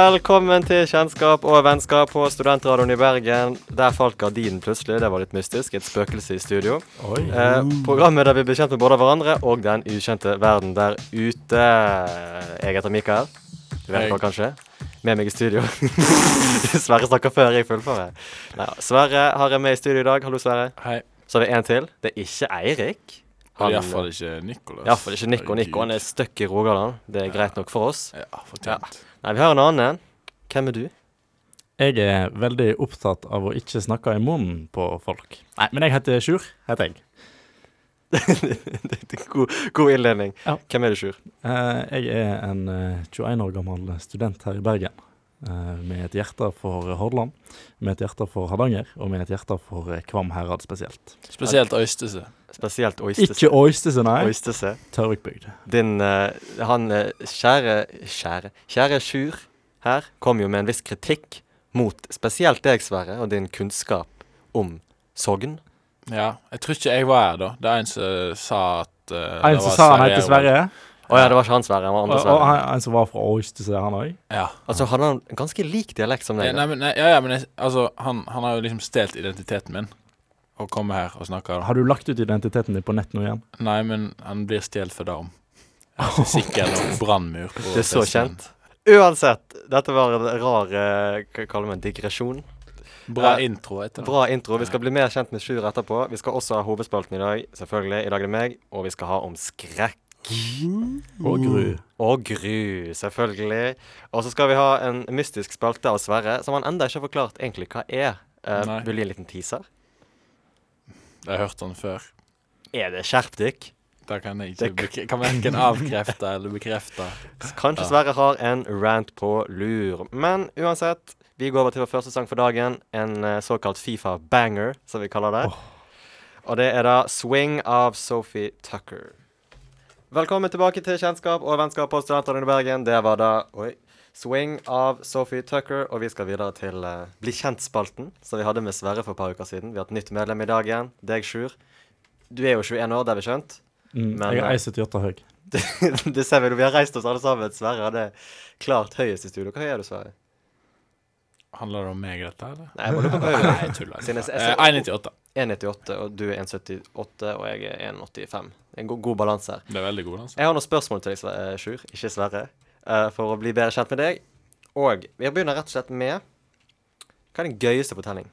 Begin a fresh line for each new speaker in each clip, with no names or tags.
Velkommen til Kjennskap og vennskap på Studentradioen i Bergen. Der falt gardinen plutselig. Det var litt mystisk. Et spøkelse i studio.
Oi.
Eh, programmet der vi blir kjent med både hverandre og den ukjente verden der ute. Jeg heter Mikael. Du vet
Hei.
hva, kanskje? Med meg i studio. Sverre snakker før jeg fullfører. Nei, Sverre har jeg med i studio i dag. Hallo, Sverre.
Hei.
Så har vi en til. Det er ikke Eirik.
Han, I hvert fall ikke Nicolas.
Iallfall ikke Nico. Nico han er
Herregud.
stuck i Rogaland. Det er greit nok for oss.
Ja, fortjent.
Nei, vi har en annen en. Hvem er du?
Jeg er veldig opptatt av å ikke snakke i munnen på folk. Nei, men jeg heter Sjur, heter jeg.
Det er god, god innledning.
Ja.
Hvem er du, Sjur?
Eh, Jeg er en eh, 21 år gammel student her i Bergen. eh, Med et hjerte for Hordaland, med et hjerte for Hardanger og med et hjerte for eh, Kvam herad spesielt.
Spesielt Øystese.
Spesielt Oystese.
Ikke Øystese, nei.
Oystese.
Tørvikbygd.
Din eh, Han eh, kjære Kjære Kjære Sjur her kom jo med en viss kritikk mot spesielt deg, Sverre, og din kunnskap om Sogn.
Ja. Jeg tror ikke jeg var her, da. Det er en som sa at eh, det
En som
var
sa han het Sverre,
Å ja, det var ikke han, Sverre. Han var
og,
andre
og
Sverre.
en en som var fra Øystese, han òg.
Ja.
Altså, hadde han en ganske lik dialekt som
Nei,
deg?
nei, men- nei, ja, ja, men jeg, altså, han, han har jo liksom stjålet identiteten min. Å komme her og snakke da.
Har du lagt ut identiteten din på nett nå igjen?
Nei, men han blir stjålet for Darm. Sikkert noen brannmur. på
Det er så
festen.
kjent. Uansett, dette var en rar eh, Hva kaller man det? digresjon?
Bra
Ja.
intro etter det.
Bra intro. Vi skal bli mer kjent med Sjur etterpå. Vi skal også ha hovedspalten i dag, selvfølgelig. I dag er det meg. Og vi skal ha om skrekk.
Og Gru.
Og Gru, selvfølgelig. Og så skal vi ha en mystisk spalte av Sverre, som han enda ikke har forklart egentlig hva er. Eh,
Nei.
vil du gi en liten teaser?
Jeg har hørt han før.
Er det skjerpdykk?
Da kan jeg
Det
ikke bekre- kan verken avkrefte eller bekrefte.
Så Kanskje
Ja.
Sverre har en rant på lur. Men uansett, vi går over til vår første sang for dagen. En eh, såkalt Fifa-banger, som vi kaller det. Og det er da 'Swing' av Sophie Tucker. Velkommen tilbake til Kjennskap og vennskap på Studentradioen i Bergen. Det var da oi, 'Swing' av Sophie Tucker. Og vi skal videre til eh, Bli kjent-spalten, som vi hadde med Sverre for et par uker siden. Vi har et nytt medlem i dag igjen. Deg, Sjur. Du er jo 21 år, det har vi skjønt.
Mm,
Men,
jeg
eh,
er 1,78 høy.
det ser vi når vi har reist oss alle sammen. Sverre hadde klart høyest i studio. Hva høy er du, Sverre?
Handler det om meg, dette, eller?
Nei, jeg må lukke på høyden.
Nei, jeg tuller.
Siden jeg ser-
Eh, 1,98.
1,98, og du er 1,78, og jeg er 1,85. En god, god balanse her.
Det er veldig god, altså.
Jeg har noen spørsmål til deg, Sve- eh, Sjur, ikke Sverre, eh, for å bli bedre kjent med deg. Og vi begynner rett og slett med Hva er din gøyeste fortelling?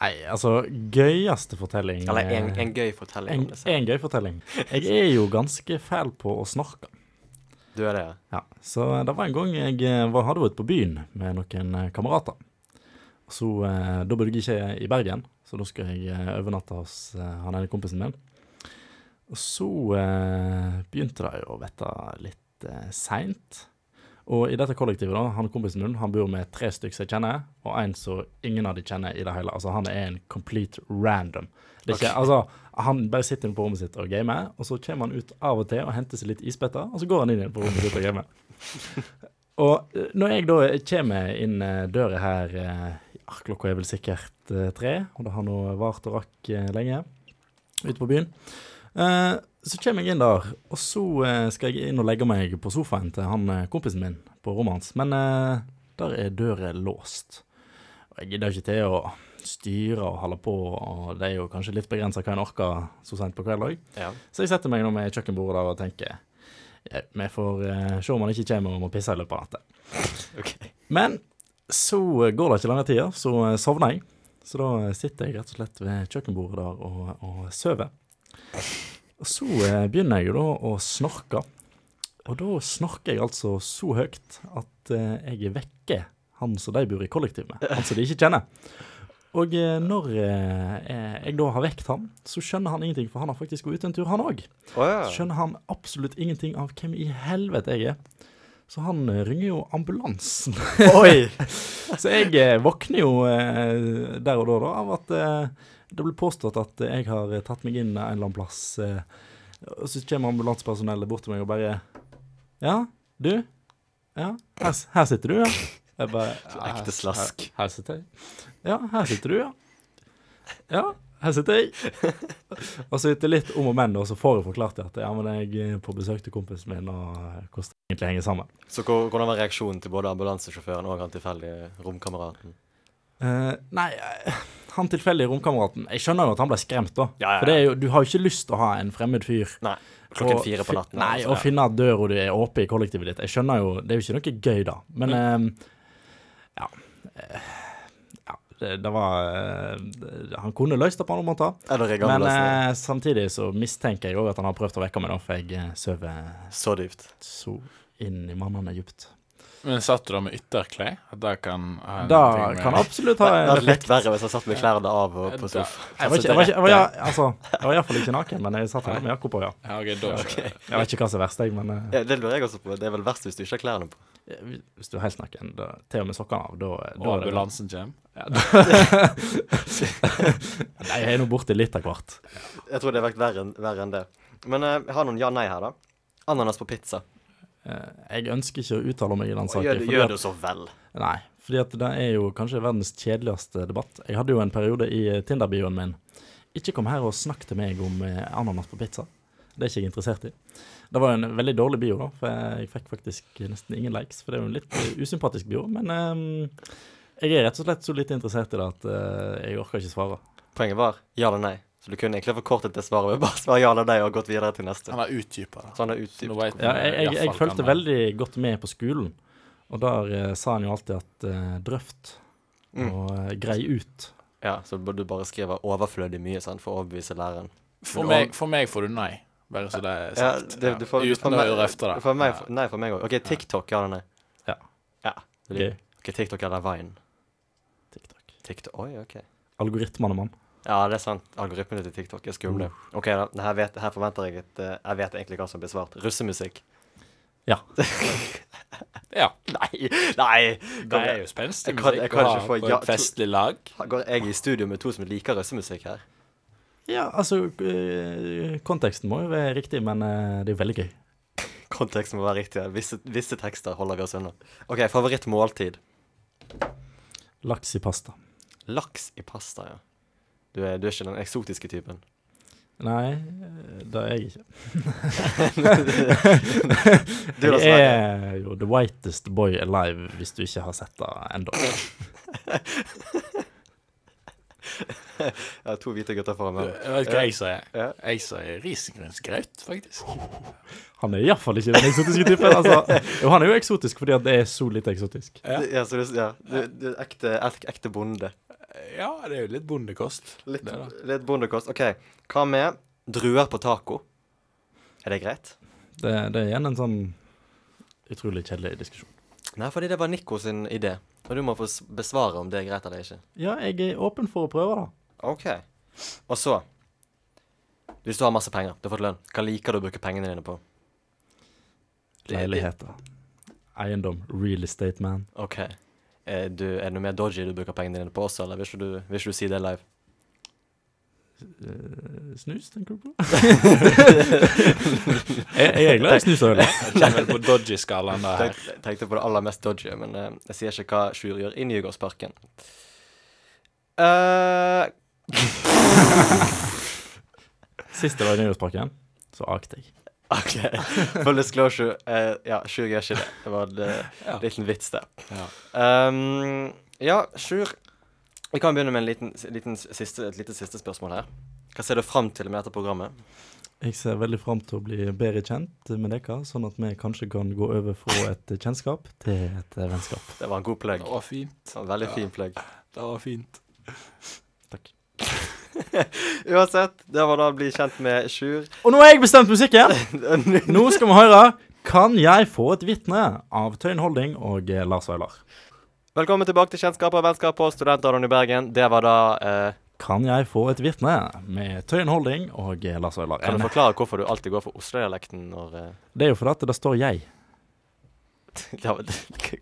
Nei, altså, gøyeste fortelling
Eller en,
eh,
en gøy fortelling. liksom. om
en,
det, Sverre.
en gøy fortelling. Jeg er jo ganske fæl på å snorke.
Du er det, ja?
Ja, så det var en gang jeg eh, var, hadde vært på byen med noen eh, kamerater. Så eh, da bodde jeg ikke i Bergen, så da skal jeg eh, overnatte hos eh, han ene kompisen min. Og så eh, begynte det jo å vette litt eh, seint. Og i dette kollektivet, da, han kompisen min, han bor med tre stykker som jeg kjenner, og en som ingen av de kjenner i det hele. Altså, han er en complete random. Det er ikke, altså, han bare sitter inne på rommet sitt og gamer, og så kommer han ut av og til og henter seg litt isbiter, og så går han inn igjen på rommet sitt og gamer. Og eh, når jeg da kommer inn eh, døra her, eh, ja, klokka er vel sikkert eh, tre, og det har nå vart og rakk eh, lenge ute på byen, eh, så kommer jeg inn der, og så eh, skal jeg inn og legge meg på sofaen til han eh, kompisen min på rommet hans, men eh, der er døra låst. Og jeg gidder ikke til å styre og holde på, og det er jo kanskje litt begrensa hva en orker så seint på kvelden òg.
ja.
Så jeg setter meg nå med kjøkkenbordet der og tenker ja, vi får eh, se om han ikke kommer og må pisse i løpet av natta.
OK.
Men så går det ikke lange tida, så eh, sovner jeg. Så da sitter jeg rett og slett ved kjøkkenbordet der og, og sover. Og så eh, begynner jeg jo da å snorke. Og da snorker jeg altså så høyt at eh, jeg vekker han som de bor i kollektiv med. Han som de ikke kjenner. Og eh, når eh, jeg da har vekt han, så skjønner han ingenting, for han har faktisk gått ut en tur, han òg.
Å
Så
ja.
skjønner han absolutt ingenting av hvem i helvete jeg er. Så han eh, ringer jo ambulansen.
Oi!
Så jeg eh, våkner jo eh, der og da, da av at eh, det blir påstått at eh, jeg har eh, tatt meg inn en eller annen plass. Eh, og så kommer ambulansepersonellet bort til meg og bare Ja, du? Ja, her, s- her sitter du, ja. Jeg bare,
Ekte slask.
her sitter jeg. Ja, her sitter du, ja. Ja, her sitter jeg. Og så etter litt om og men, da, så får jeg forklart det at ja, men jeg er på besøk til kompisen min, og hvordan det egentlig henger sammen.
Så hvor- hvordan var reaksjonen til både ambulansesjåføren og han tilfeldige romkameraten?
Eh, nei, eh, han tilfeldige romkameraten Jeg skjønner jo at han ble skremt, da.
Ja, ja, ja.
For det er jo, du har jo ikke lyst til å ha en fremmed fyr
Nei, klokken
og
fire på
fi-
natten.
Nei,
altså.
å finne at døra di er åpen i kollektivet ditt. Jeg skjønner jo Det er jo ikke noe gøy, da. Men
Mm.
eh, ja. eh, ja det, det var eh, det- Han kunne løst det på andre måter.
Eller rigge
Men
ambulansen.
eh, samtidig så mistenker jeg òg at han har prøvd å vekke meg, da, for jeg eh, sover
Så dypt.
så inn i mannene dypt.
Men satt du da med ytterklær? At det kan ha en
Da
ting med-
kan jeg absolutt
Det
ha en
hadde
refleks.
litt verre hvis jeg satt med klærne av og på
Da-
sofaen.
Jeg var, ikke, jeg, var ikke, jeg, var, ja, altså, jeg var i hvert fall ikke naken, men jeg satt her med jakka på, ja.
Ja, ok, da skjønner jeg.
Jeg vet ikke hva som er verst, jeg, men eh,
Ja, det lurer jeg også på. Det er vel verst hvis du ikke har klærne på.
hvis du er helt naken, da, til og med sokkene av, da,
Og
da er det vel-
ambulansen kommer.
Ja, da- Nei, jeg er nå borte litt av hvert.
Jeg tror det har vært verre, enn- verre enn det. Men eh, jeg har noen ja-nei her, da. Ananas på pizza.
Eh, Jeg ønsker ikke å uttale meg i den saken.
Gjør, det-
fordi
gjør
at-
det så vel.
Nei, fordi at det er jo kanskje verdens kjedeligste debatt. Jeg hadde jo en periode i eh, Tinder-bioen min. Ikke kom her og snakk til meg om eh, ananas på pizza. Det er ikke jeg interessert i. Det var jo en veldig dårlig bio, da, for jeg fikk faktisk nesten ingen likes. For det er jo en litt eh, usympatisk bio, men eh, jeg er rett og slett så lite interessert i det at eh, jeg orker ikke svare.
Poenget var ja eller nei. Så du kunne egentlig forkortet det svaret med bare svare ja eller nei og gått videre til neste.
Han har utdypa det.
Sånn er
Nå
utdypt.
vet
Ja, jeg, jeg, jeg
iallfall
fulgte
kan han-
veldig godt med på skolen, og der eh, sa han jo alltid at eh, drøft
Mm.
og eh, grei ut.
Ja, så burde du bare skrive overflødig mye sånn, for å overbevise læreren.
For meg, for meg får du nei. Bare så det er
Ja,
sagt.
det, du får, du får
Uten å
meg-
røfte
du
det.
får meg, nei, for meg òg. OK, TikTok, ja eller nei?
Ja.
ja.
Gøy.
OK, TikTok eller Vine?
TikTok.
TikTok, Oi, OK.
Algoritmene, mann.
Ja, det er sant. Algoritmene til TikTok er skumle. OK, da. det Her, vet, her forventer jeg et eh, Jeg vet egentlig hva som blir svart. Russemusikk.
Ja.
Ja.
Nei! Nei!
Det er jo spenstig
Jeg kan- jeg
musikk
kan
å
ikke
ha
få
på
ja-
et festlig lag.
Går jeg i studio med to som liker russemusikk her?
Ja, altså eh, Konteksten må jo være riktig, men eh, det er jo veldig gøy.
Konteksten må være riktig. her. Visse, visse tekster holder vi oss unna. OK, favorittmåltid.
Laks i pasta.
Laks i pasta, ja. Du er, du er ikke den eksotiske typen.
Nei, eh, det er jeg ikke.
Du da,
jeg
Sverre.
er jo the whitest boy alive, hvis du ikke har sett det ennå.
Jeg har to hvite gutter foran
Du,
meg.
Jeg vet hva jeg sier.
Ja.
Jeg sier risengrynsgrøt, faktisk.
Han er iallfall ikke den eksotiske typen. Altså. Jo, han er jo eksotisk fordi at det er så lite eksotisk.
Ja.
Ja, så du, ja. du, du er ekte, ek, ekte bonde.
Ja, det er jo litt bondekost.
Litt,
Det da.
litt bondekost. OK, hva med druer på taco? Er det greit?
Det, det er igjen en sånn utrolig kjedelig diskusjon.
Nei, fordi det var Nico sin idé. Og du må få s- besvare om det er greit eller ikke.
Ja, jeg er åpen for å prøve, da.
OK. Og så Hvis du har masse penger, du har fått lønn, hva liker du å bruke pengene dine på?
Leiligheter. Eiendom. Real estate, man.
OK. Er, du, er det noe mer dodgy du bruker pengene dine på også, eller vil ikke du, vil ikke du si det live?
Eh, Snus, tenker du på? jeg, jeg er glad i snus og øl.
Jeg kjenner vel på dodgy-skalaen der.
Tenk, tenkte på det aller mest dodgy, men eh, jeg sier ikke hva Sjur gjør i Nygårdsparken. eh
Sist jeg var i Nyhetsparken, så akte jeg.
OK. Full disclosure. eh, ja, Sjur gjør ikke det. Det var en eh,
Ja.
liten vits, det.
Ja.
Um, ja, Sjur. Vi kan begynne med en liten, liten siste, et lite siste spørsmål her. Hva ser du fram til med dette programmet?
Jeg ser veldig fram til å bli bedre kjent med dere, sånn at vi kanskje kan gå over fra et kjennskap til et eh, vennskap.
Det var en god plugg.
Det var fint.
Det var en Veldig
Ja.
fin plugg.
Det var fint.
Uansett, det var da å bli kjent med Sjur.
Og nå har jeg bestemt musikken!
Nå
Nå skal vi høre Kan jeg få et vitne? av Tøyen Holding og eh, Lars Vaular.
Velkommen tilbake til Kjennskaper og vennskap på Studentradioen i Bergen. Det var da eh,
Kan jeg få et vitne? med Tøyen Holding og eh, Lars Vaular.
Kan du forklare hvorfor du alltid går for Oslo-dialekten når eh,
Det er jo fordi at det står 'jeg'.
ja, men-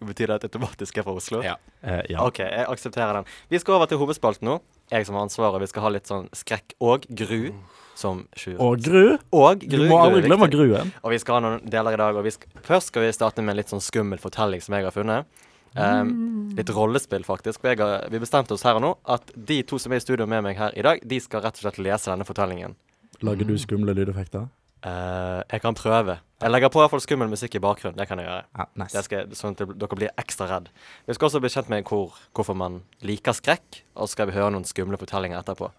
Betyr det at det automatisk er fra Oslo?
Ja.
Eh, ja.
OK, jeg aksepterer den. Vi skal over til hovedspalten nå. Jeg som har ansvaret. Vi skal ha litt sånn skrekk og gru som sjuer.
Og Gru.
Og
Du
gru.
må aldri
gru,
glemme
riktig.
Gruen.
Og vi skal ha noen deler i dag. Og vi sk- først skal vi starte med en litt sånn skummel fortelling som jeg har funnet. Ehm, litt rollespill, faktisk. for Jeg, har- vi bestemte oss her og nå at de to som er i studio med meg her i dag, de skal rett og slett lese denne fortellingen.
Lager
Mm.
du skumle lydeffekter?
Eh, jeg kan prøve. Jeg legger på i hvert fall skummel musikk i bakgrunnen. Det kan jeg gjøre.
Ja, nice.
Det skal, sånn at det- dere blir ekstra redd. Vi skal også bli kjent med hvor, hvorfor man liker skrekk, og så skal vi høre noen skumle fortellinger etterpå.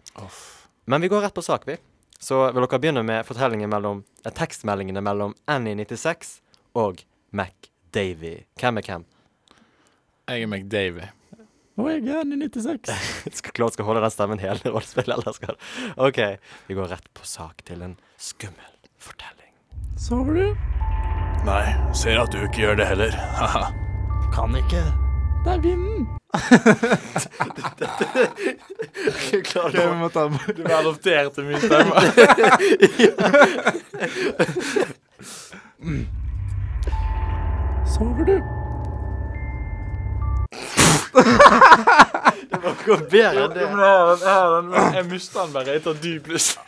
Men vi går rett på sak, vi. Så vil dere begynne med fortellingen mellom, eh, tekstmeldingene mellom Annie96 og MacDavy. Hvem er hvem?
Jeg er McDavy.
Å, jeg er i 96.
Skal Claude skal holde den stemmen hele rollespillet, eller skal OK, vi går rett på sak til en skummel fortelling.
Sover du?
Nei, ser at du ikke gjør det heller.
Kan ikke. Det er vinden.
Klarer
Ok, vi må ta
Du ble adoptert til min stemme.
Sover du?
å gå bedre enn det?
Jeg mista den bare etter dyp lyst.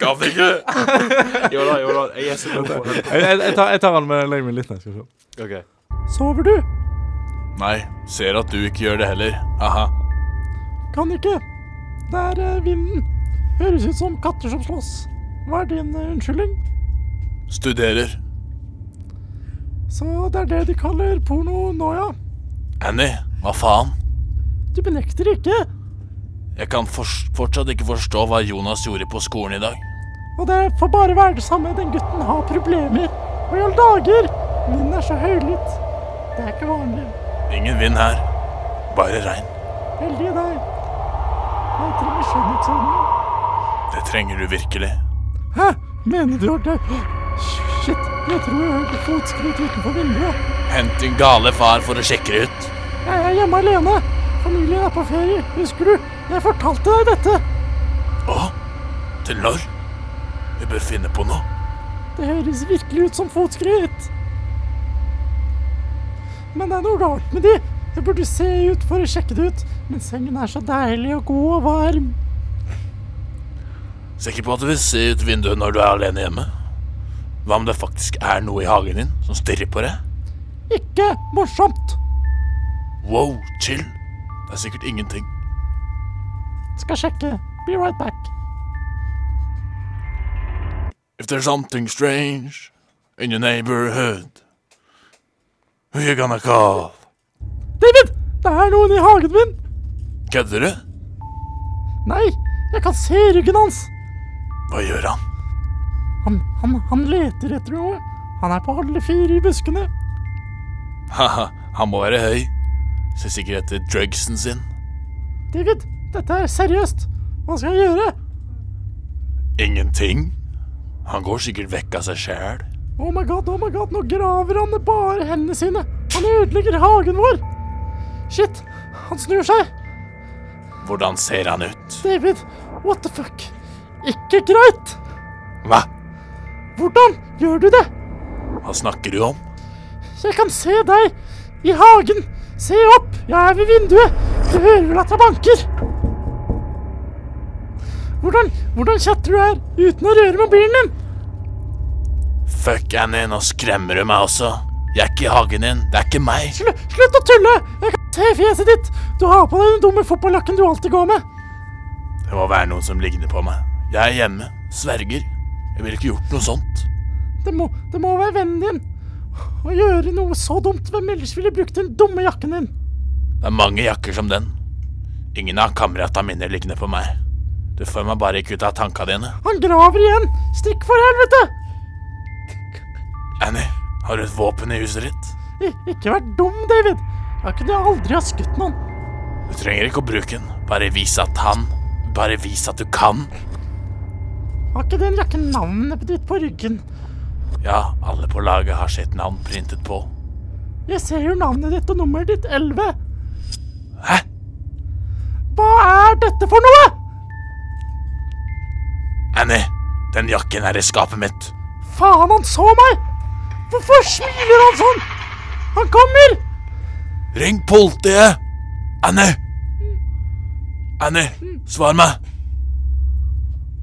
Gadd ikke. Jo da, jo da. Jeg er så god på det.
Jeg, jeg, jeg, tar, jeg tar den med legg meg litt ned. Skal vi se.
OK.
Sover du?
Nei, ser at du ikke gjør det heller. Aha.
Kan ikke. Det er eh, vinden. Høres ut som katter som slåss. Hva er din eh, unnskyldning?
Studerer.
Så det er det de kaller porno nå, ja.
Annie, hva faen?
Du benekter ikke.
Jeg kan fors- fortsatt ikke forstå hva Jonas gjorde på skolen i dag.
Og det får bare være det samme. Den gutten har problemer. Og i alle dager! Vinden er så høylytt. Det er ikke vanlig.
Ingen vind her. Bare regn.
Heldig deg. Jeg trenger skjønnhetshormoner.
Det trenger du virkelig.
Hæ? Mener du at det Shit, jeg tror jeg hørte fotskritt utenfor vinduet.
Hent din gale far for å sjekke det ut.
Jeg er hjemme alene. Familien er på ferie, husker du? Jeg fortalte deg dette.
Å? Til når? Vi bør finne på noe.
Det høres virkelig ut som fotskritt. Men det er noe rart med de. Jeg burde se ut for å sjekke det ut. Men sengen er så deilig og god og varm.
Sikker på at du vil se ut vinduet når du er alene hjemme? Hva om det faktisk er noe i hagen din som stirrer på deg?
Ikke morsomt.
Wow, chill. Det er sikkert ingenting.
Skal sjekke. Be right back.
If there's something strange in your neighborhood, who you gonna call?
David, det er noen i hagen min.
Kødder du?
Nei, jeg kan se ryggen hans.
Hva gjør han?
Han, han, han leter etter noe. Han er på alle fire i buskene.
Haha, han må være høy. Ser sikkert etter drugsen sin.
David, dette er seriøst. Hva skal jeg gjøre?
Ingenting. Han går sikkert vekk av seg sjæl.
Oh my god, oh my god, nå graver han med bare hendene sine. Han ødelegger hagen vår. Shit, han snur seg.
Hvordan ser han ut?
David, what the fuck? Ikke greit.
Hva?
Hvordan gjør du det?
Hva snakker du om?
Jeg kan se deg i hagen. Se opp, jeg er ved vinduet. Du hører vel at jeg banker? Hvordan, hvordan chatter du her uten å røre mobilen din?
Fuck Annie, nå skremmer du meg også. Jeg er ikke i hagen din. Det er ikke meg.
Slu- Slutt å tulle! Jeg kan se fjeset ditt! Du har på deg den dumme fotballakken du alltid går med.
Det må være noen som ligner på meg. Jeg er hjemme. Sverger. Jeg ville ikke gjort noe sånt.
Det må, det må være vennen din. Å gjøre noe så dumt, hvem ellers ville brukt den dumme jakken din?
Det er mange jakker som den. Ingen av kameratene mine ligner på meg. Du får meg bare ikke ut av tankene dine.
Han graver igjen! Stikk for helvete!
Annie, har du et våpen i huset ditt?
I, ikke vær dum, David. Da kunne jeg aldri ha skutt noen.
Du trenger ikke å bruke den. Bare vis at han Bare vis at du kan.
Har ikke den jakken navnet ditt på ryggen?
Ja, alle på laget har sitt navn printet på.
Jeg ser jo navnet ditt og nummeret ditt 11.
Hæ?
Hva er dette for noe?!
Annie, den jakken er i skapet mitt.
Faen, han så meg! Hvorfor smiler han sånn? Han kommer!
Ring politiet! Annie! Annie, svar meg!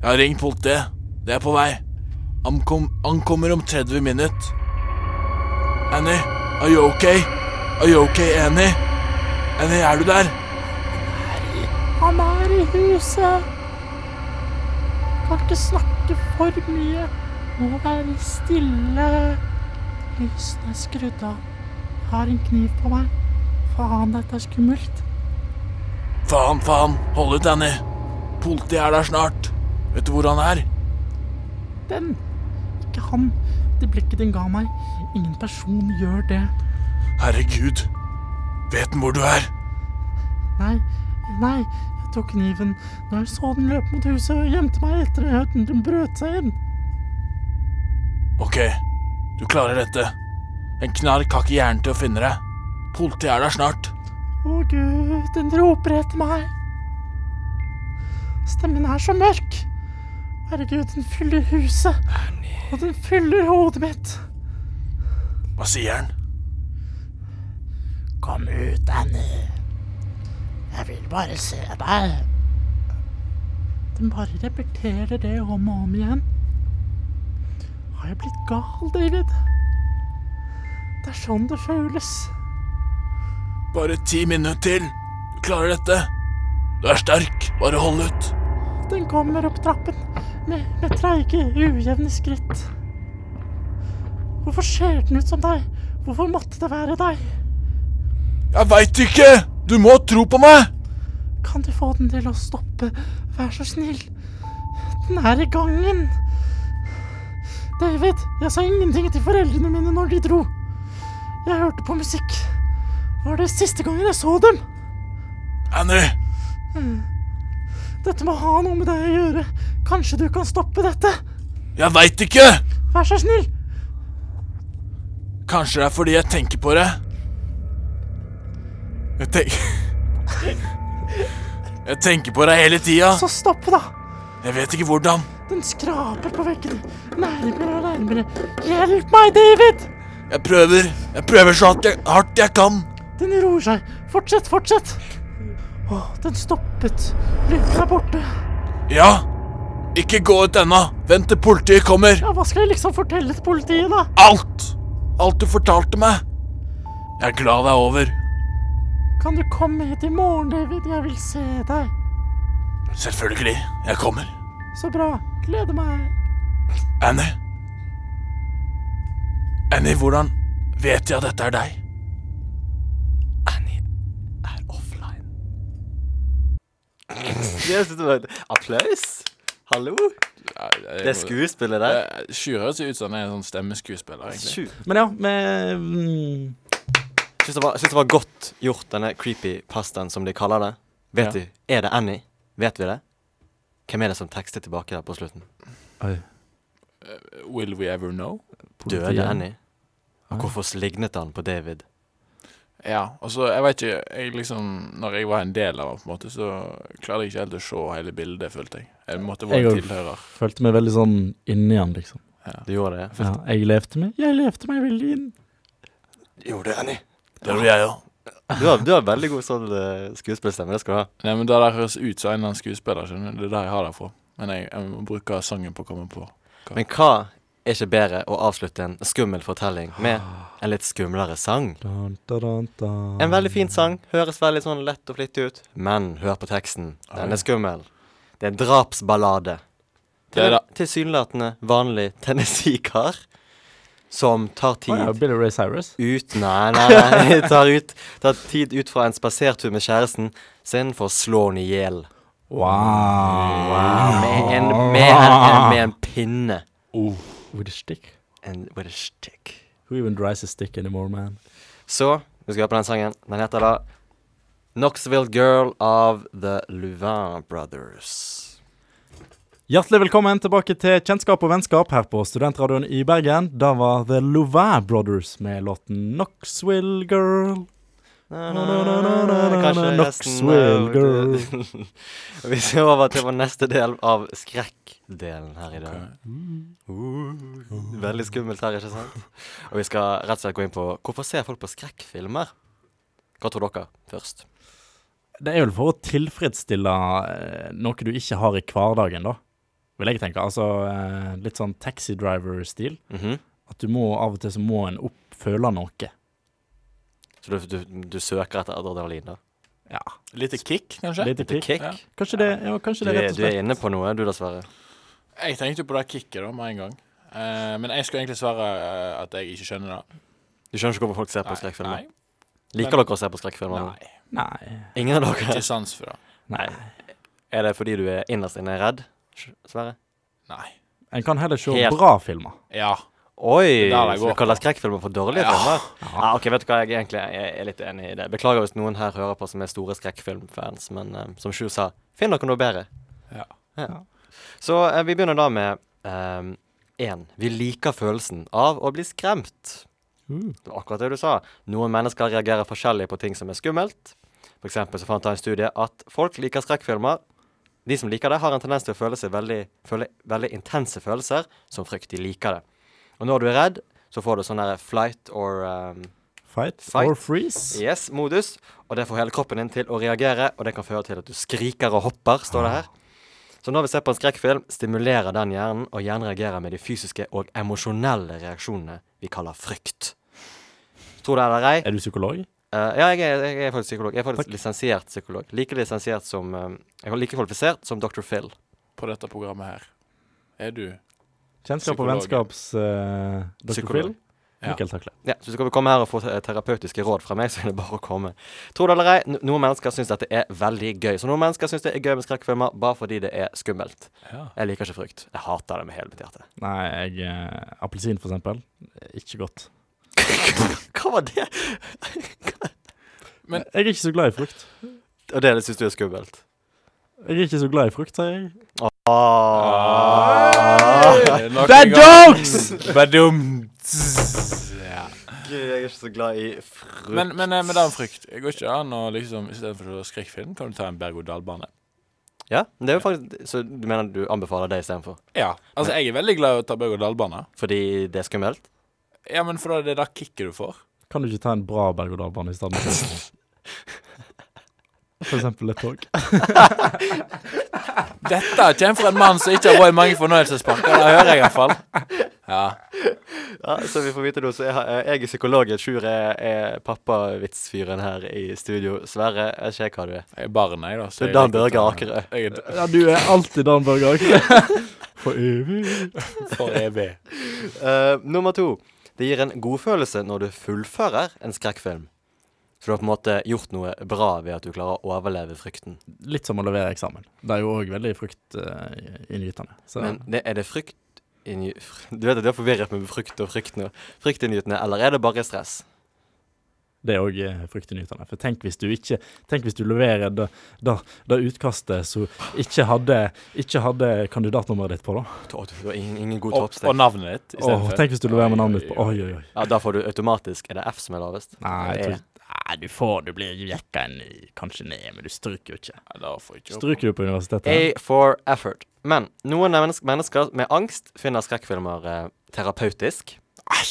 Jeg har ringt politiet. Det er på vei. Han, kom, han kommer om 30 minutter. Annie, are you okay? Are you okay, Annie? Annie, er du der?
Han er i huset. Kan ikke snakke for mye. Må være stille. Lysene er skrudd av. Jeg har en kniv på meg. Faen, dette er skummelt.
Faen, faen. Hold ut, Annie. Politiet er der snart. Vet du hvor han er?
Den. Ikke han. Det blikket den ga meg. Ingen person gjør det.
Herregud. Vet han hvor du er?
Nei, nei. Jeg tok kniven når jeg så den løpe mot huset og gjemte meg etter at den brøt seg inn.
Ok, du klarer dette. En knark har ikke hjernen til å finne deg. Politiet er der snart.
Å gud, den roper etter meg. Stemmen er så mørk. Herregud, den fyller huset. Og den fyller hodet mitt.
Hva sier han?
Kom ut, Annie. Jeg vil bare se deg. Den bare repeterer det om og om igjen. Har jeg blitt gal, David? Det er sånn det føles.
Bare ti minutter til. Du klarer dette. Du er sterk. Bare hold ut.
Den kommer opp trappen med, med treige, ujevne skritt. Hvorfor ser den ut som deg? Hvorfor måtte det være deg?
Jeg veit ikke! Du må tro på meg!
Kan du få den til å stoppe? Vær så snill. Den er i gangen. David, jeg sa ingenting til foreldrene mine når de dro. Jeg hørte på musikk. Var det siste gangen jeg så dem?
Annie,
Dette må ha noe med deg å gjøre. Kanskje du kan stoppe dette?
jeg veit ikke!
Vær så snill.
Kanskje det er fordi jeg tenker på det. Jeg tenker Jeg tenker på deg hele tida.
Så stopp, da.
Jeg vet ikke hvordan.
Den skraper på veggene. Nærmere og nærmere. Hjelp meg, David!
Jeg prøver. Jeg prøver så hardt jeg, hardt jeg kan.
Den roer seg. Fortsett, fortsett. Å, den stoppet. Lyden er borte.
Ja. Ikke gå ut ennå. Vent til politiet kommer.
Ja, hva skal jeg liksom fortelle til politiet, da?
Alt! Alt du fortalte meg. Jeg er glad det er over.
Kan du komme hit i morgen, David? Jeg vil se deg.
Selvfølgelig. Jeg kommer.
Så bra. Gleder meg.
Annie? Annie, hvordan vet jeg at dette er deg?
Annie er offline. Applaus! Hallo! Eh, Det er skuespillet der.
Sjur høres Eh, ut som en sånn stemmeskuespiller. egentlig.
Sju.
Men ja, med mm,
Syns det, var, syns det var godt gjort, denne creepy pastaen, som de kaller det. Vet
Ja.
du, Er det Annie? Vet vi det? Hvem er det som tekster tilbake der på slutten?
Oi.
Will we ever know?
politiet.
Døde Annie?
Ja.
Og hvorfor lignet han på David?
Ja, altså, jeg vet ikke jeg liksom, Når jeg var en del av det, på en måte, så klarte jeg ikke helt å se hele bildet, følte jeg. Jeg måtte være
Jeg
en
òg.
tilhører.
Følte meg veldig sånn inni han, liksom.
Du gjorde det?
Ja, jeg levde meg Jeg levde meg veldig inn.
Gjorde det, Annie?
Det gjorde jeg òg.
Du har, du har veldig god sånn eh, skuespillstemme. Det skal du ha.
Nei, men Det der høres ut som en eller annen skuespiller. skjønner du? Det er der jeg har det fra. Men jeg, jeg må bruke sangen på å komme på.
Men hva er ikke bedre å avslutte en skummel fortelling med en litt skumlere sang?
Dun, dun, dun, dun.
En veldig fin sang. Høres veldig sånn lett og flittig ut. Men hør på teksten. Den er skummel. Det er en drapsballade.
Det er
Til
da-
en tilsynelatende vanlig Tennessee-kar som tar
Å ja,
tid
Billy Ray Cyrus.
ut Nei, nei, nei. Tar, ut, tar tid ut fra en spasertur med kjæresten sin for å slå henne i hjel.
Ah.
Mm,
Wow.
Med, en- med, en- med en pinne.
With a stick.
And with a stick.
Who even dries a stick anymore, man?
Så vi skal høre på den sangen. Den heter da Knoxville Girl av The Louvain Brothers.
Hjertelig velkommen tilbake til Kjennskap og vennskap her på Studentradioen i Bergen. Da var The Louvain Brothers med låten Knoxville Girl.
Kanskje resten
Knoxville girl.
Vi ser over til vår neste del av skrekkdelen her i dag. Uh, Veldig skummelt her, ikke sant? Og vi skal rett og slett gå inn på hvorfor ser folk på skrekkfilmer? Hva tror dere først?
Det er vel for å tilfredsstille eh, noe du ikke har i hverdagen, da. Vil jeg tenke. Altså eh, litt sånn taxi driver-stil.
Mhm.
At du må av og til så må en oppføle noe.
Så du, du, du søker etter adrenalin, da.
Lite kick, kanskje?
Lite
Litt
kick.
kick.
Ja.
Kanskje det, ja, kanskje
Du,
det
er,
rett og
du er
slett.
inne på noe, du, dessverre.
Jeg tenkte jo på det kicket da, med en gang. Eh, men jeg skulle egentlig svare eh, at jeg ikke skjønner det.
Du skjønner ikke hvorfor folk ser på
Nei, nei,
skrekkfilmer? Liker dere å se på skrekkfilmer? nå?
nei.
Nei.
Ingen av dere?
Ikke sans for det.
Nei.
Er det fordi du er innerst inne redd, Sverre?
Nei.
En kan heller se
Helt-
bra filmer.
Ja.
Oi!
Det er det jeg
Så
går
du kaller skrekkfilmer for dårlige
Ja.
filmer? Ja, ok, vet du hva, jeg er egentlig jeg er litt enig i det. Beklager hvis noen her hører på som er store skrekkfilmfans, men eh, som Sju sa, finn dere noe bedre.
Ja.
Ja. Så eh, vi begynner da med um, én. Vi liker følelsen av å bli skremt. Det var akkurat det du sa. Noen mennesker reagerer forskjellig på ting som er skummelt. For eksempel så fant jeg en studie at folk liker skrekkfilmer. De som liker det, har en tendens til å føle seg veldig, føle, veldig intense følelser som frykt. De liker det. Og når du er redd, så får du sånn der flight or um,
Fight,
Fight.
or freeze.
yes-modus. Og det får hele kroppen din til å reagere, og det kan føre til at du skriker og hopper, står det her. Så når vi ser på en skrekkfilm, stimulerer den hjernen, og hjernen reagerer med de fysiske og emosjonelle reaksjonene vi kaller frykt. Tror det eller ei,
Er du psykolog?
Eh, ja, jeg er, jeg er faktisk psykolog. Jeg er faktisk lisensiert psykolog. Like lisensiert som eh, Jeg er like kvalifisert som Dr. Phil.
På dette programmet her. Er du
Kjennskap og
Psykolog.
vennskaps uh, Dr.
Psykolog.
Phil?
Ja.
Mikkel Takle.
Ja, så Hvis du komme her og få eh, terapeutiske råd fra meg, så er det bare å komme. Tror det eller ei, no- noen mennesker syns dette er veldig gøy. Så noen mennesker syns det er gøy med skrekkfilmer bare fordi det er skummelt.
Ja.
Jeg liker ikke frykt. Jeg hater det med hele mitt hjerte.
Nei, jeg eh, Appelsin, for eksempel. Ikke godt.
Hva var det?
Men-
jeg er ikke så glad i frukt.
Og det syns du er skummelt?
Jeg er ikke så glad i frukt, sier jeg.
Ah.
Ah.
Ah.
Bad
jokes!
Ja.
Gud, jeg er ikke så glad i frykt.
Men, men eh, med den frykt Går ikke an å liksom istedenfor skrekkfilm, kan du ta en berg-og-dal-bane?
Ja, det er jo faktisk Så du mener du anbefaler det istedenfor?
Ja. Altså, jeg er veldig glad i å ta berg-og-dal-bane.
Fordi det er skummelt?
Ja, men for da er det da kicket du får.
Kan du ikke ta en bra berg-og-dal-bane i stedet? For eksempel et tog.
Dette kommer fra en mann som ikke har vært i mange fornøyelsesparker. Det hører jeg iallfall. Ja.
Ja, så vi får vite nå, så jeg, har- eh, jeg er psykologen, Sjur er, er pappavitsfyren her i studio. Sverre, jeg vet ikke hva du er.
Jeg er barn, jeg, da.
Så
jeg
Dan
liker å
Børge
ta-
Akerø.
Jeg er
Ja, du er alltid Dan Børge Akerø. For evig.
for evig.
Eh, nummer to. Det gir en godfølelse når du fullfører en skrekkfilm. Så du har på en måte gjort noe bra ved at du klarer å overleve frykten.
Litt som å levere eksamen. Det er jo òg veldig fruktinngytende. Så
Men det, er det frykt inngy- fr- Du vet at du er forvirret med frykt og frykt nå. Fryktinngytende, eller er det bare stress?
det er òg fruktinngytende. For tenk hvis du ikke Tenk hvis du leverer det, det, det utkastet som ikke hadde, ikke hadde kandidatnummeret ditt på, da.
Å, Du du har ingen, ingen god
Og, og
toppstek.
navnet ditt. i stedet
Åh,
for.
tenk hvis du leverer med
Oi,
navnet ditt på
oi,
Oi, oi, oi.
Ja, da får du automatisk Er det F som er lavest?
Nei, jeg
Eller E?
tror ikke Nei, du får Du blir jekka en kanskje ned, men du stryker jo ikke.
Nei, da får jeg ikke opp.
Stryker du på universitetet?
A for effort. Men noen mennesk mennesker med angst finner skrekkfilmer eh, terapeutisk. Hva?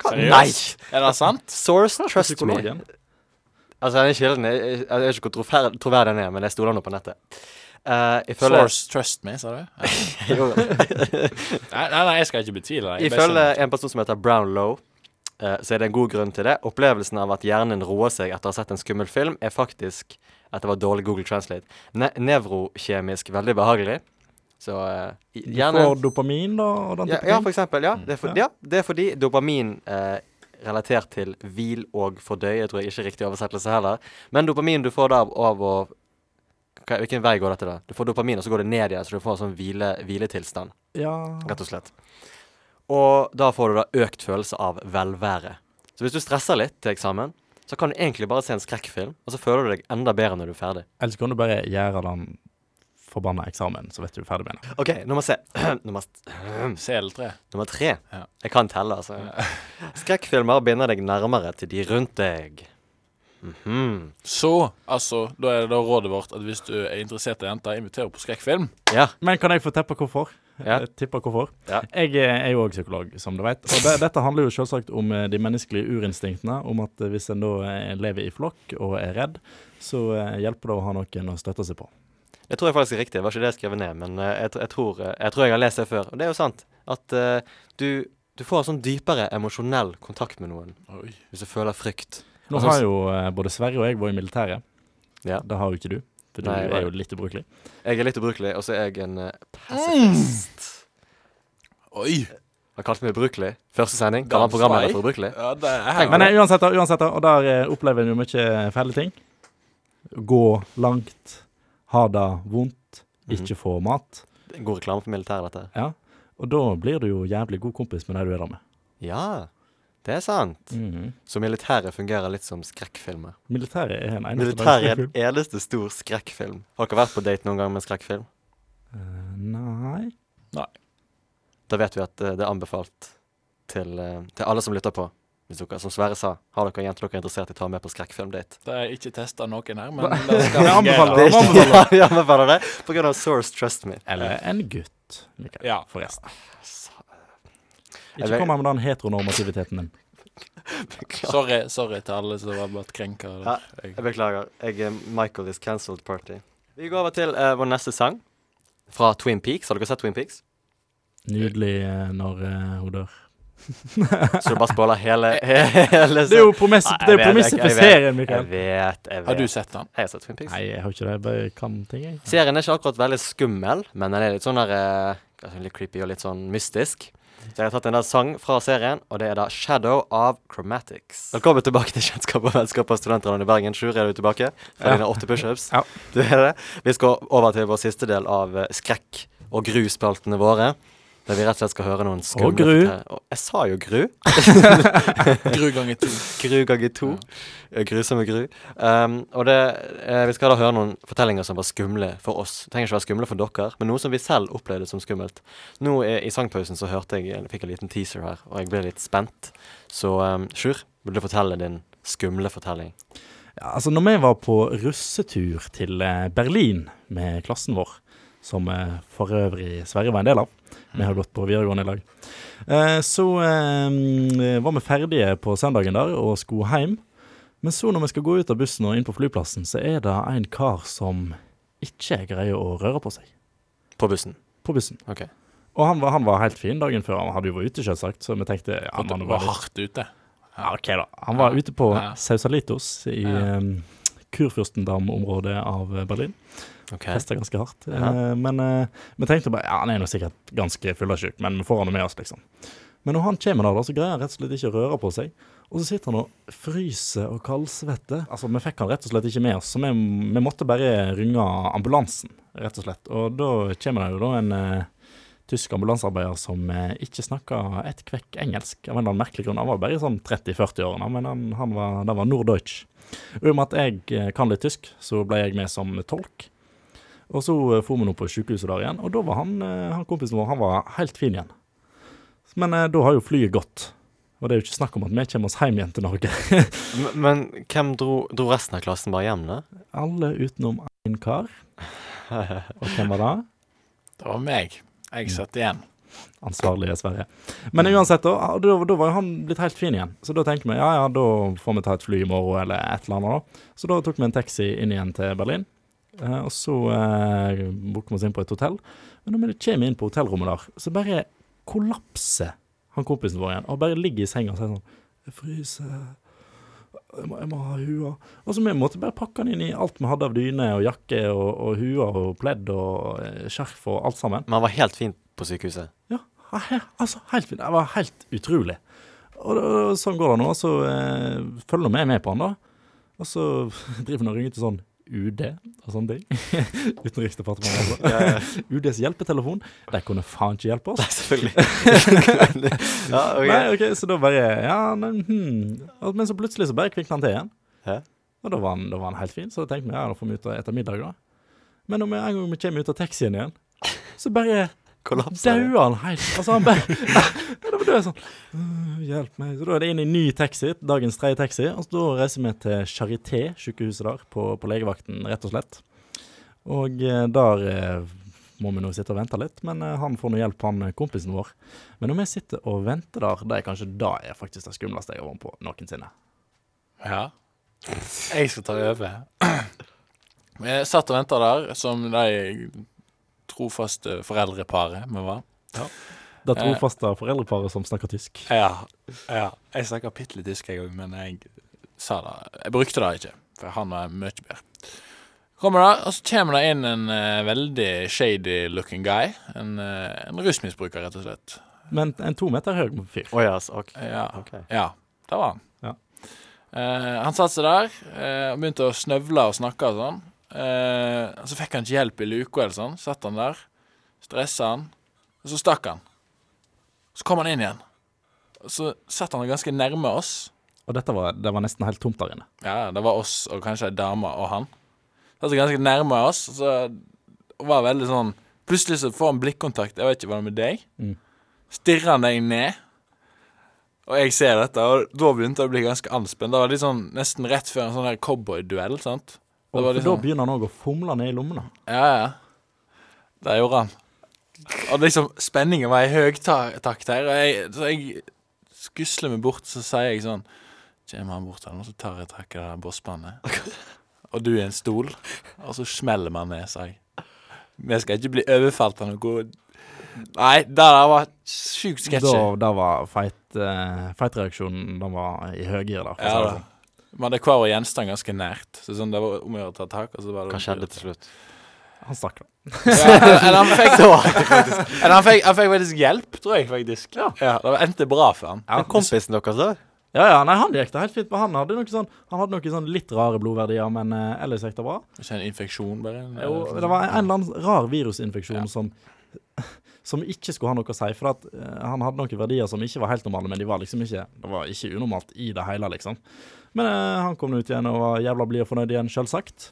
Seriøst? Er det sant?
Source Trust Me.
Psykologen.
Altså, denne kilden er- Jeg jeg vet ikke hvor trofer- troverdig den er, men jeg stoler nå på nettet. Eh, ifølge,
Source trust me, sa du?
jo,
Nei, nei, nei, jeg skal ikke betvile deg. Jeg bare
ifølge en person som heter Brownlow, eh, så er det en god grunn til det. Opplevelsen av at hjernen roer seg etter å ha sett en skummel film, er faktisk at det var dårlig Google Translate. Ne nevrokjemisk veldig behagelig. Så eh,
Du
hjernen
får dopamin, da, og den
Ja,
type
ja,
ting.
for eksempel. Ja. Det er, for, Mm, ja, det er fordi dopamin eh, relatert til hvil og fordøye tror jeg ikke er riktig oversettelse heller. Men dopamin du får da av- av å hva, Hvilken vei går dette, da? Du får dopamin, og så går det ned igjen, så du får en sånn hvile, hviletilstand,
Ja.
rett og slett. Og da får du da økt følelse av velvære. Så hvis du stresser litt til eksamen, så kan du egentlig bare se en skrekkfilm, og så føler du deg enda bedre når du er ferdig.
Ellers kan du bare gjøre den forbanna eksamen, så vet du du er ferdig med den.
OK, nummer se. nummer s-
bestemme. CL3.
Nummer tre.
Ja.
Jeg kan telle, altså. Skrekkfilmer binder deg nærmere til de rundt deg. Mhm.
Så, altså, da er det da rådet vårt at hvis du er interessert i jenter, inviterer på skrekkfilm.
Ja.
Men kan jeg få teppe hvorfor?
Ja.
Jeg tipper hvorfor.
Ja.
Jeg eh, er jo òg psykolog, som du vet. Og det, dette handler jo selvsagt om eh, de menneskelige urinstinktene. Om at eh, hvis en da eh, lever i flokk og er redd, så eh, hjelper det å ha noen å støtte seg på.
Det tror jeg faktisk er riktig. Det var ikke det jeg skrev ned, men eh, jeg, tr- jeg, tror, eh, jeg tror jeg har lest det før. Og det er jo sant at eh, du, du får en sånn dypere emosjonell kontakt med noen
Oi.
hvis du føler frykt.
Nå har jo eh, både Sverre og jeg vært i militæret.
Altså, Ja.
Det har jo ikke du, for du
Nei, jeg
er
var-
jo litt ubrukelig.
Jeg er litt ubrukelig, og så er jeg en eh, pasifist.
Mm. Oi!
Han kalte meg ubrukelig. Første sending.
Da
Kaller han programmet
svei.
for ubrukelig?
Ja, det er
Tenk
her.
på
Men
det.
eh, uansett, da, uansett da, og der eh, opplever en jo mye fæle ting. Gå langt, ha det vondt,
Mm.
Mhm.
ikke få mat.
Det er en God reklame for militæret, dette.
Ja. Og da blir du jo jævlig god kompis med de du er der med.
Ja, det er sant. Så militæret fungerer litt som skrekkfilmer.
Militæret er en eneste
Militæret er
dagsfilm.
en eneste stor skrekkfilm. Har dere vært på date noen gang med en skrekkfilm?
Eh, Nei.
Da vet vi at eh, det er anbefalt til, eh, til alle som lytter på. Hvis dere, som Sverre sa, har dere jenter dere er interessert i å ta med på skrekkfilmdate?
Det er ikke testa noen her, men det skal
Jeg anbefaler
fungere.
det. anbefaler
Ja, vi anbefaler det på grunn av Source Trust Me.
Eller Eh, en gutt. Mikael,
Ja.
forresten.
Sa- Jeg
Ikke
vet-
kom her med den heteronormativiteten din.
Sorry, sorry til alle som har blitt krenka.
Ja.
Jeg-
Jeg beklager. Jeg er Michael is cancelled party. Vi går over til eh, vår neste sang, fra Twin Peaks. Har dere sett Twin Peaks?
Nydelig eh, når eh, hun dør.
Så du bare spoiler hele, hele
Det er jo premisset
Nei, jeg
det er
vet
jo premisset
ikke, jeg
for
vet.
serien,
Jeg
Mikael.
vet, jeg vet.
Har du sett den?
Jeg har sett Twin Peaks.
Nei, jeg har ikke det. Jeg bare kan ting, jeg.
Serien er ikke akkurat veldig skummel, men den er litt sånn der eh, kanskje litt creepy og litt sånn mystisk. Så jeg har tatt en del sang fra serien, og det er da 'Shadow of Chromatics'. Velkommen tilbake til Kjennskap og vennskap av studentene i Bergen. Sjur, er du tilbake? For
Ja.
dine åtte pushups.
Ja.
Du er det. Vi skal over til vår siste del av eh, skrekk- og gruspeltene våre. Der vi rett og slett skal høre noen skumle
Og gru.
fortell- Å, Jeg sa jo gru.
Gru ganger to.
Gru ganger to. Eh, Grusomme Gru. Um, og det, eh, vi skal da høre noen fortellinger som var skumle for oss. Det trenger ikke være skumle for dere, men noe som vi selv opplevde som skummelt. Nå eh, i sangpausen så hørte jeg, jeg fikk en liten teaser her, og jeg ble litt spent. Så um, Sjur, vil du fortelle din skumle fortelling?
Ja, altså, når vi var på russetur til eh, Berlin med klassen vår, som eh, for øvrig Sverre var en del av, vi har gått på videregående i lag, eh, så eh, var vi ferdige på søndagen der og skulle hjem. Men så når vi skal gå ut av bussen og inn på flyplassen, så er det en kar som ikke greier å røre på seg
På bussen.
på bussen.
Ok.
Og han var, han var helt fin dagen før. Han hadde jo vært ute, selvsagt, så vi tenkte ja,
Og
man
det
var
var
litt-
hardt ute.
ja, ok da. Han var ute på
Ja.
Sausalitos i
Ja.
em, Kurfürstendam-området av eh, Berlin.
Ok.
Festa ganske hardt. Eh,
Ja.
men eh, vi tenkte bare ja, han er nå sikkert ganske fyllesyk, men vi får han jo med oss, liksom. Men når han kommer der, da, så greier han rett og slett ikke å røre på seg. Og så sitter han og fryser og kaldsvetter. Altså, vi fikk han rett og slett ikke med oss, så vi, vi måtte bare ringe ambulansen, rett og slett. Og da kommer det jo da en eh, tysk ambulansearbeider som eh, ikke snakka et kvekk engelsk. Av en eller annen merkelig grunn. Han var bare i sånn 30-40-årene, men han, han var, det var norddeutsch. Og I og med at jeg eh, kan litt tysk, så ble jeg med som tolk. Og så eh, for vi nå på sykehuset der igjen, og da var han, eh, han kompisen vår han var helt fin igjen. Men eh, da har jo flyet gått. Og det er jo ikke snakk om at vi kommer oss hjem igjen til Norge.
M- Men hvem dro, dro resten av klassen bare hjem, da?
Alle utenom én kar. Og hvem var det?
Det var meg. Jeg satt igjen.
ansvarlige Sverige. Men uansett, da, ah, da, da var jo han blitt helt fin igjen. Så da tenkte vi ja, ja, da får vi ta et fly i morgen, eller et eller annet. da. Så da tok vi en taxi inn igjen til Berlin. Eh, og så eh, booket vi oss inn på et hotell. Men når vi kommer inn på hotellrommet der, så bare kollapser han kompisen vår igjen. Og bare ligger i senga og sier sånn Jeg fryser. Jeg må, jeg må ha hua. Og så vi måtte bare pakke han inn i alt vi hadde av dyne og jakke og, og hua og pledd og eh, skjerf og alt sammen.
Men han var helt fin på sykehuset.
Ja, he- altså helt fint. Det var helt utrolig. Og, da- og sånn går det nå. Så eh, følger nå vi med på han, da. Og så driver han og ringer til sånn UD og sånne ting. Utenriksdepartementet, altså. UDs hjelpetelefon. De kunne faen ikke hjelpe oss.
Nei, selvfølgelig. ja,
Nei,
ok.
ok, Så da bare Ja, men hmm. Og- Men så plutselig så bare kvikner han til igjen.
Hæ?
Og da var, han, da var han helt fin, så da tenkte vi ja, da får vi ut og ete middag, da. Men om en gang vi kommer ut av taxien igjen, så bare
Kollapsa. det.
Daua han helt? Altså, han bare Da var det sånn «Øh, Hjelp meg. Så da er det inn i ny taxi, dagens tredje taxi. Og så da reiser vi til Charité, sykehuset der, på, på legevakten, rett og slett. Og eh, der eh, må vi nå sitte og vente litt, men eh, han får nå hjelp, han eh, kompisen vår. Men når vi sitter og venter der, det er kanskje da er faktisk det skumleste jeg har vært på noensinne.
Ja. Jeg skal ta over. Jeg satt og venta der, som de trofaste foreldreparet vi var.
Det trofaste foreldreparet som snakker tysk.
Ja. ja. Jeg snakker bitte litt tysk, jeg òg, men jeg sa det. Jeg brukte det ikke, for han var mye bedre. Kommer der, og så kommer det inn en eh, veldig shady looking guy. En, eh, en rusmisbruker, rett og slett.
Men en to meter høy fyr.
Å ja, så ok.
Ja,
ok.
ja det var han.
Ja.
Eh, han satte seg der eh, og begynte å snøvle og snakke og sånn. Eh, og så fikk han ikke hjelp i luka eller sånn. Satt han der, stressa han, og så stakk han. Så kom han inn igjen. Og så satt han ganske nærme oss.
Og dette var, det var nesten helt tomt der inne.
Ja, det var oss og kanskje ei dame og han. Satt ganske nærme oss, og så var veldig sånn Plutselig så får han blikkontakt. Jeg vet ikke hva det er med deg.
Mm.
Stirrer han deg ned, og jeg ser dette, og da begynte jeg å bli ganske anspent. Det var litt sånn nesten rett før en sånn der cowboyduell, sant.
Og
Det var
for da
liksom,
begynner han òg å fomle ned i lommene.
ja, ja. Det gjorde han. Og liksom, spenningen var i høytakt her, og jeg, så jeg skusler meg bort, så sier jeg sånn Kommer han bort her nå, så tar jeg tak i det der bosspannet. Og du i en stol. Og så smeller man ned, sa jeg. Vi skal ikke bli overfalt av noe Nei, det der var sjukt sketsjy.
Da, da var fight, eh, fight-reaksjonen Den var i høygir, da. for å
Ja,
si det
da.
sånn.
Vi hadde hver vår gjenstand ganske nært. Så sånn, det var om å gjøre å ta tak. Og så var det
Hva skjedde til slutt?
Han stakk, da.
Ja, eller han fikk, eller han, fikk, han fikk faktisk hjelp, tror jeg. faktisk Ja, Det endte bra for han.
Ja, kompisen deres, da?
Ja, ja, nei, han gikk det helt fint, men han hadde noe sånn, han hadde noe sånn litt rare blodverdier, men eh, ellers gikk det bra.
Ikke en infeksjon, bare? en-
Jo, det var en eller annen rar virusinfeksjon
Ja.
som, som ikke skulle ha noe å si, for at eh, han hadde noen verdier som ikke var helt normale, men de var liksom ikke, det var ikke unormalt i det hele, liksom. Men eh, han kom ut igjen og var jævla blid og fornøyd igjen, selvsagt.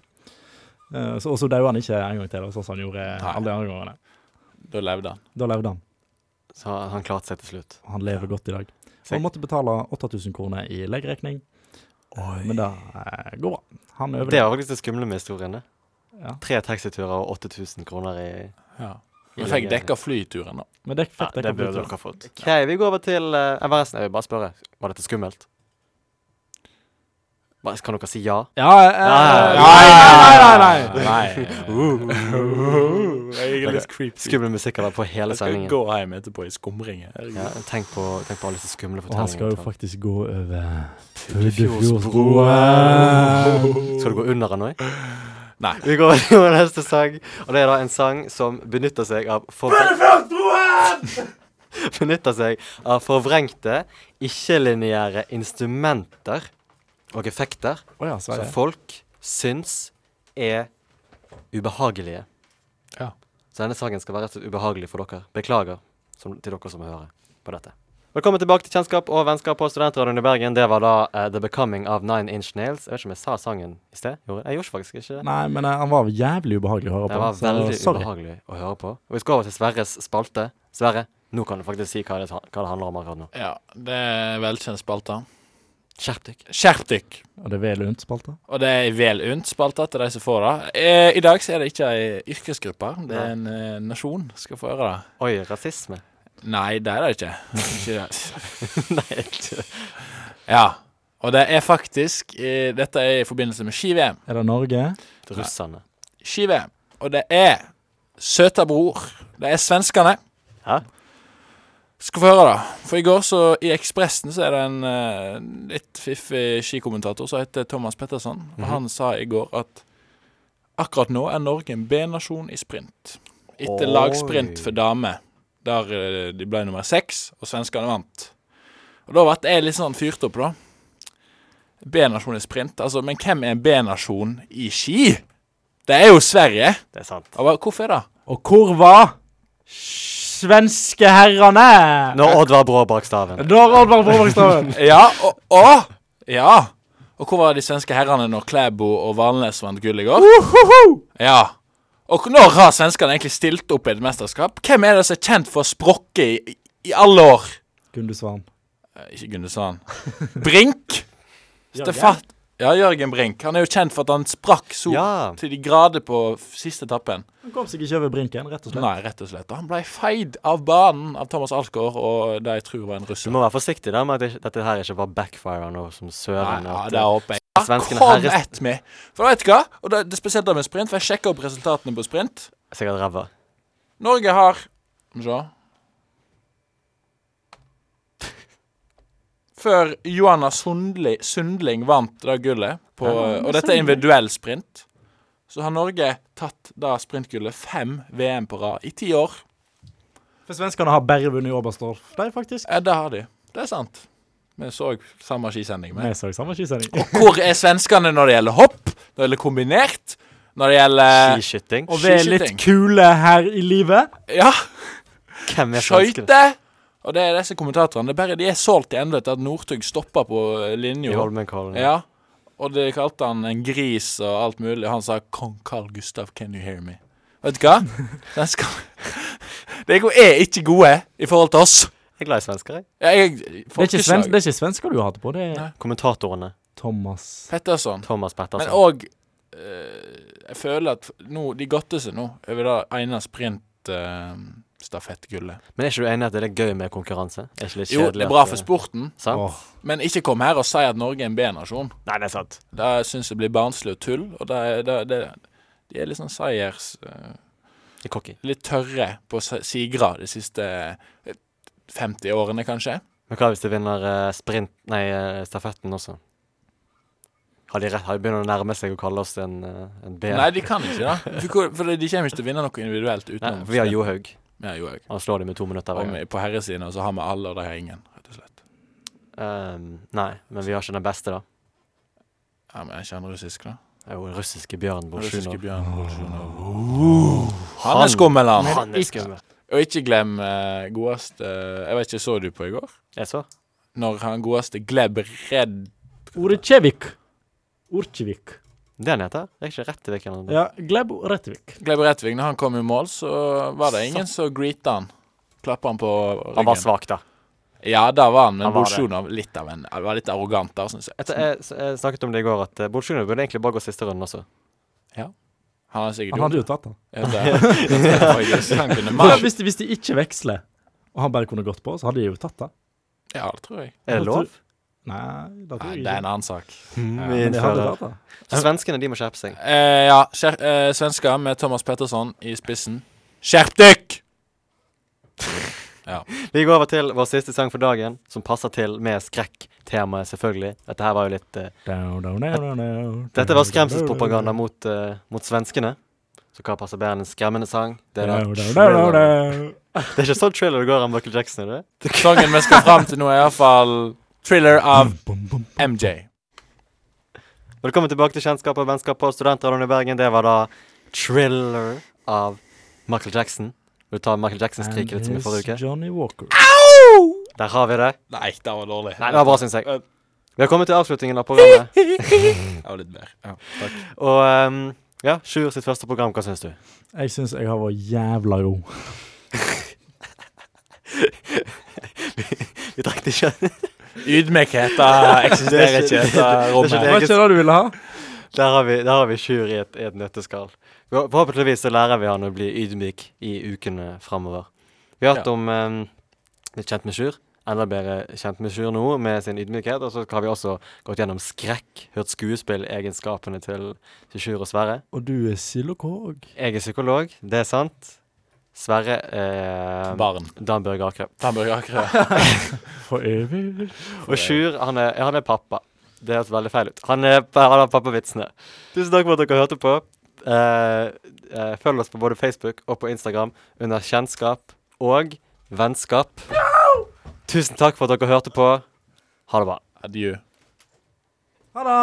Eh, så- Og så døde han ikke en gang til, sånn som han gjorde
Nei.
alle de andre gangene.
Da levde han.
Da levde han.
Så han klarte seg til slutt.
Han lever godt i dag.
Sikkert.
Han måtte betale 8000 kroner i legeregning, eh, men det eh, går bra. Han øver
Det var faktisk det skumle med historien. det.
Ja.
Tre taxiturer og 8000 kroner i
Ja. Vi fikk dekka flyturen, da.
Men det
Ja,
fikk
det
dere
burde
på
dere ha fått. OK, vi går over til eh, eh, Forresten, jeg vil bare spørre. Var dette skummelt? Bare, kan dere si ja?
Ja,
Nei,
Eh, Ah, nei, Uh. Jeg er litt creepy.
Skummel musikk er det på hele
Jeg skal
sendingen.
gå hjem etterpå i skumringer.
Ja, tenk, på, tenk på alle disse skumle
Og han skal jo
fortellingene.
faktisk gå over
Fuglefjordsbroen. Skal du gå under den òg?
Nei.
Eh, Vi går over til vår neste sang, og det er da en sang som benytter seg av forvrengte Benytter seg av forvrengte, ikke-lineære instrumenter og effekter
Å ja, så er
som
det.
folk syns er ubehagelige.
Ja.
Så denne sangen skal være rett og slett ubehagelig for dere. Beklager som, til dere som hører på dette. Velkommen tilbake til Kjennskap og vennskap på Studentradioen i Bergen. Det var da eh, The Becoming of Nine Inch Nails. Jeg vet ikke om jeg sa sangen i sted. Gjorde jeg? Jeg gjorde faktisk ikke det.
Nei, men eh, han var jævlig ubehagelig å høre på.
Det var
så
veldig
sorry.
ubehagelig å høre på. Og vi skal over til Sverres spalte. Sverre, nå kan du faktisk si hva det, hva det handler om akkurat nå.
Ja, det er velkjent spalte.
Skjerp deg.
Skjerp dykk!
Og det er vel lunt spalte.
Og det er vel unt spalte til de som får det. Eh, I dag så er det ikke ei yrkesgruppe, det er en eh, nasjon skal få høre det.
Oi, rasisme.
Nei, det er det ikke. ikke det.
Nei, ikke.
Ja. Og det er faktisk eh, Dette er i forbindelse med ski-VM.
Er det Norge?
russerne.
ski-VM. Og det er søta bror. Det er svenskene.
Hæ?
Skal få høre, da. For i går, så i Ekspressen, så er det en eh, litt fiffig skikommentator som heter Thomas Petterson. Og
Mhm.
han sa i går at akkurat nå er Norge en B-nasjon i sprint. Etter
Oi.
lagsprint for damer, der eh, de ble nummer seks, og svenskene vant. Og da ble jeg litt sånn fyrt opp, da. B-nasjon i sprint. Altså, men hvem er en B-nasjon i ski? Det er jo Sverige.
Det er sant.
Og bare, hvorfor er det?
Og hvor var svenske herrene?
Når Oddvar Brå bak staven.
Når Oddvar Bråvågstaven
Ja, og, og Ja! Og hvor var de svenske herrene når Klæbo og Valnes vant gull i går? Ja. Og når har svenskene egentlig stilt opp i et mesterskap? Hvem er det som er kjent for å sprokke i, i alle år?
Gundesvann.
Eh, Ikke Gundersan. Brink. Stefan Ja, Jørgen Brink. Han er jo kjent for at han sprakk så
Ja.
til de grader på f- siste etappen.
Han kom seg ikke over brinken, rett og slett.
Nei, rett og slett. Og han ble feid av banen av Thomas Alsgaard og det jeg tror var en
Du
russer.
må være forsiktig da med at det, dette her ikke var backfire nå som søren.
Nei, ja,
at,
det håper jeg.
at svenskene
Kom
herres-
ett med. For vet du hva? Og det, det er spesielt det med sprint, for jeg sjekka opp resultatene på sprint.
Sikkert ræva.
Norge har Skal vi se før Johanna Sundli, Sundling vant det gullet. På, eh, og dette er individuell sprint. Så har Norge tatt da sprintgullet fem VM på rad i ti år.
For svenskene har bare vunnet i Oberstdorf, de, faktisk.
Ja, det har de. Det er sant. Vi så samme skisending. Med.
Vi så samme skisending.
Hvor er svenskene når det gjelder hopp, når det gjelder kombinert, når det gjelder
Skiskyting?
Og vi er litt kule her i livet.
Ja,
Hvem er svenskene?
skøyter? Og det er disse kommentatorene. Det er bare de er solgt til ende til at Northug stoppa på eh,
I
linja.
Holmenkollen.
Ja. Og de kalte han en gris og alt mulig. Han sa 'Kong Carl Gustav, can you hear me?' Vet du hva? Den skal De er ikke gode i forhold til oss.
Jeg er glad i svensker, jeg.
Ja, jeg,
Det er ikke,
folkeslag.
svensk, det er ikke svensker du hater på, det er
Nei.
Kommentatorene.
Thomas.
Petterson.
Thomas Pettersen.
Men òg Jeg føler at nå, de godter seg nå over det ene eh, sprintstafettgullet.
Men er ikke du enig at det er gøy med konkurranse? Er ikke litt
jo,
kjedelig
det
at
er
eh,
bra for sporten,
Sant?
Åh.
men ikke kom her og si at Norge er en B-nasjon.
Nei, det er sant.
Det syns jeg blir barnslig og tull. Og det, er- det, det, de er litt sånn seiers... eh,
Det er cocky.
Litt tørre på se- sigre de siste eh, 50 årene, kanskje.
Men hva hvis de vinner eh, sprint... Nei, eh, stafetten også? Har de rett? Har de begynner å nærme seg å kalle oss en, eh, en B?
Nei, de kan ikke det. For, hvor- for de kommer ikke til å vinne noe individuelt
Nei,
utenom.
for vi har Johaug.
Ja, jo, jeg.
Han slår dem med to minutter
Og
hver gang.
vi- på herresiden og så har vi alle, og de har ingen, rett og slett.
Ehm, nei, men vi har ikke den beste, da.
Ja, men er ikke han russisk, da?
Det er jo den russiske Bjørn
Russiske
Bolsjunov.
Bjørn Bolsjunov. Han er skummel, han.
Han er skummel.
Og ikke glem eh, godeste Jeg vet ikke, så du på i går?
Jeg så.
Når han godeste Gleb Redd
Urkjevik. Urkjevik.
Det han heter? Det er ikke rett i hvilken han
Ja, Gleb Rettevik.
Gleb Rettvig, når han kom i mål, så var det ingen som greeta han. Klappa han på ryggen.
Han var svak, da.
Ja, det var han, men
Han var det.
Bolsjunov litt av en Han var litt arrogant der, syns jeg.
Jeg, jeg, jeg snakket om det i går, at eh, Bolsjunov burde egentlig bare gå siste runden også.
Han er sikkert
Han hadde
gjort
jo tatt han.
Ja, det- det tror jeg faktisk. Han kunne
Ja,
mer.
hvis, de, hvis de ikke veksler, og han bare kunne gått på, så hadde de jo tatt det.
Ja, det tror jeg.
Er det lov?
Nei, det tror
Nei,
jeg
det er en
ikke.
annen sak.
Mm,
Men de hadde
innfører.
tatt det.
Så svenskene, de må skjerpe seg.
Eh, ja, skjer, eh, svensker med Thomas Petterson i spissen. Skjerp dykk!
Vi går over til vår siste sang for dagen, som passer til med skrekktemaet, selvfølgelig. Dette her var jo litt eh,
Down, down, down, down, down,
Dette var
down, down,
skremselspropaganda mot, eh, mot svenskene. Så hva passer bedre enn en skremmende sang? Det er, da
down, down, down, down,
thriller.
down.
det er ikke sånn thriller det går an Michael Jackson, er det?
Sangen vi skal fram til nå, er iallfall thriller av MJ.
Velkommen tilbake til Kjennskap og vennskap på Studentradioen i Bergen. Det var da Thriller av Michael Jackson. Vil du ta Michael Jackson-skriket litt som i
And
forrige
here's
uke?
Johnny Walker.
Der har vi det.
Nei, det var dårlig.
Nei, det var bra, syns jeg. Vi har kommet til avslutningen av programmet.
Det var litt bedre. Ja, takk.
Og um, ja, Sjur sitt første program, hva syns du?
Jeg syns jeg har vært jævla god.
Vi drekte ikke.
Ydmykhet da, eksisterer ikke i dette
Det
rommet.
er
Var
ikke
ikke det du ville ha?
Der har vi, der har vi Sjur i et, i et nøtteskall. Forhå- Forhåpentligvis så lærer vi han å bli ydmyk i ukene framover. Vi har hatt
Ja.
om um, litt kjent med Sjur. Enda bedre kjent med Sjur nå, med sin ydmykhet. Og så har vi også gått gjennom skrekk, hørt skuespillegenskapene til, til Sjur og Sverre.
Og du er silokog.
Jeg er psykolog, det er sant. Sverre eh,
Barn.
Dan Børge Akerø.
Tannbørge Akerø.
For evig.
Og Sjur, han er, han er pappa. Det høres veldig feil ut. Han er, han er pappavitsene. Tusen takk for at dere hørte på. Eh, eh, følg oss på både Facebook og på Instagram under kjennskap og vennskap. Tusen takk for at dere hørte på. Ha det bra.
Adjø.
Ha det!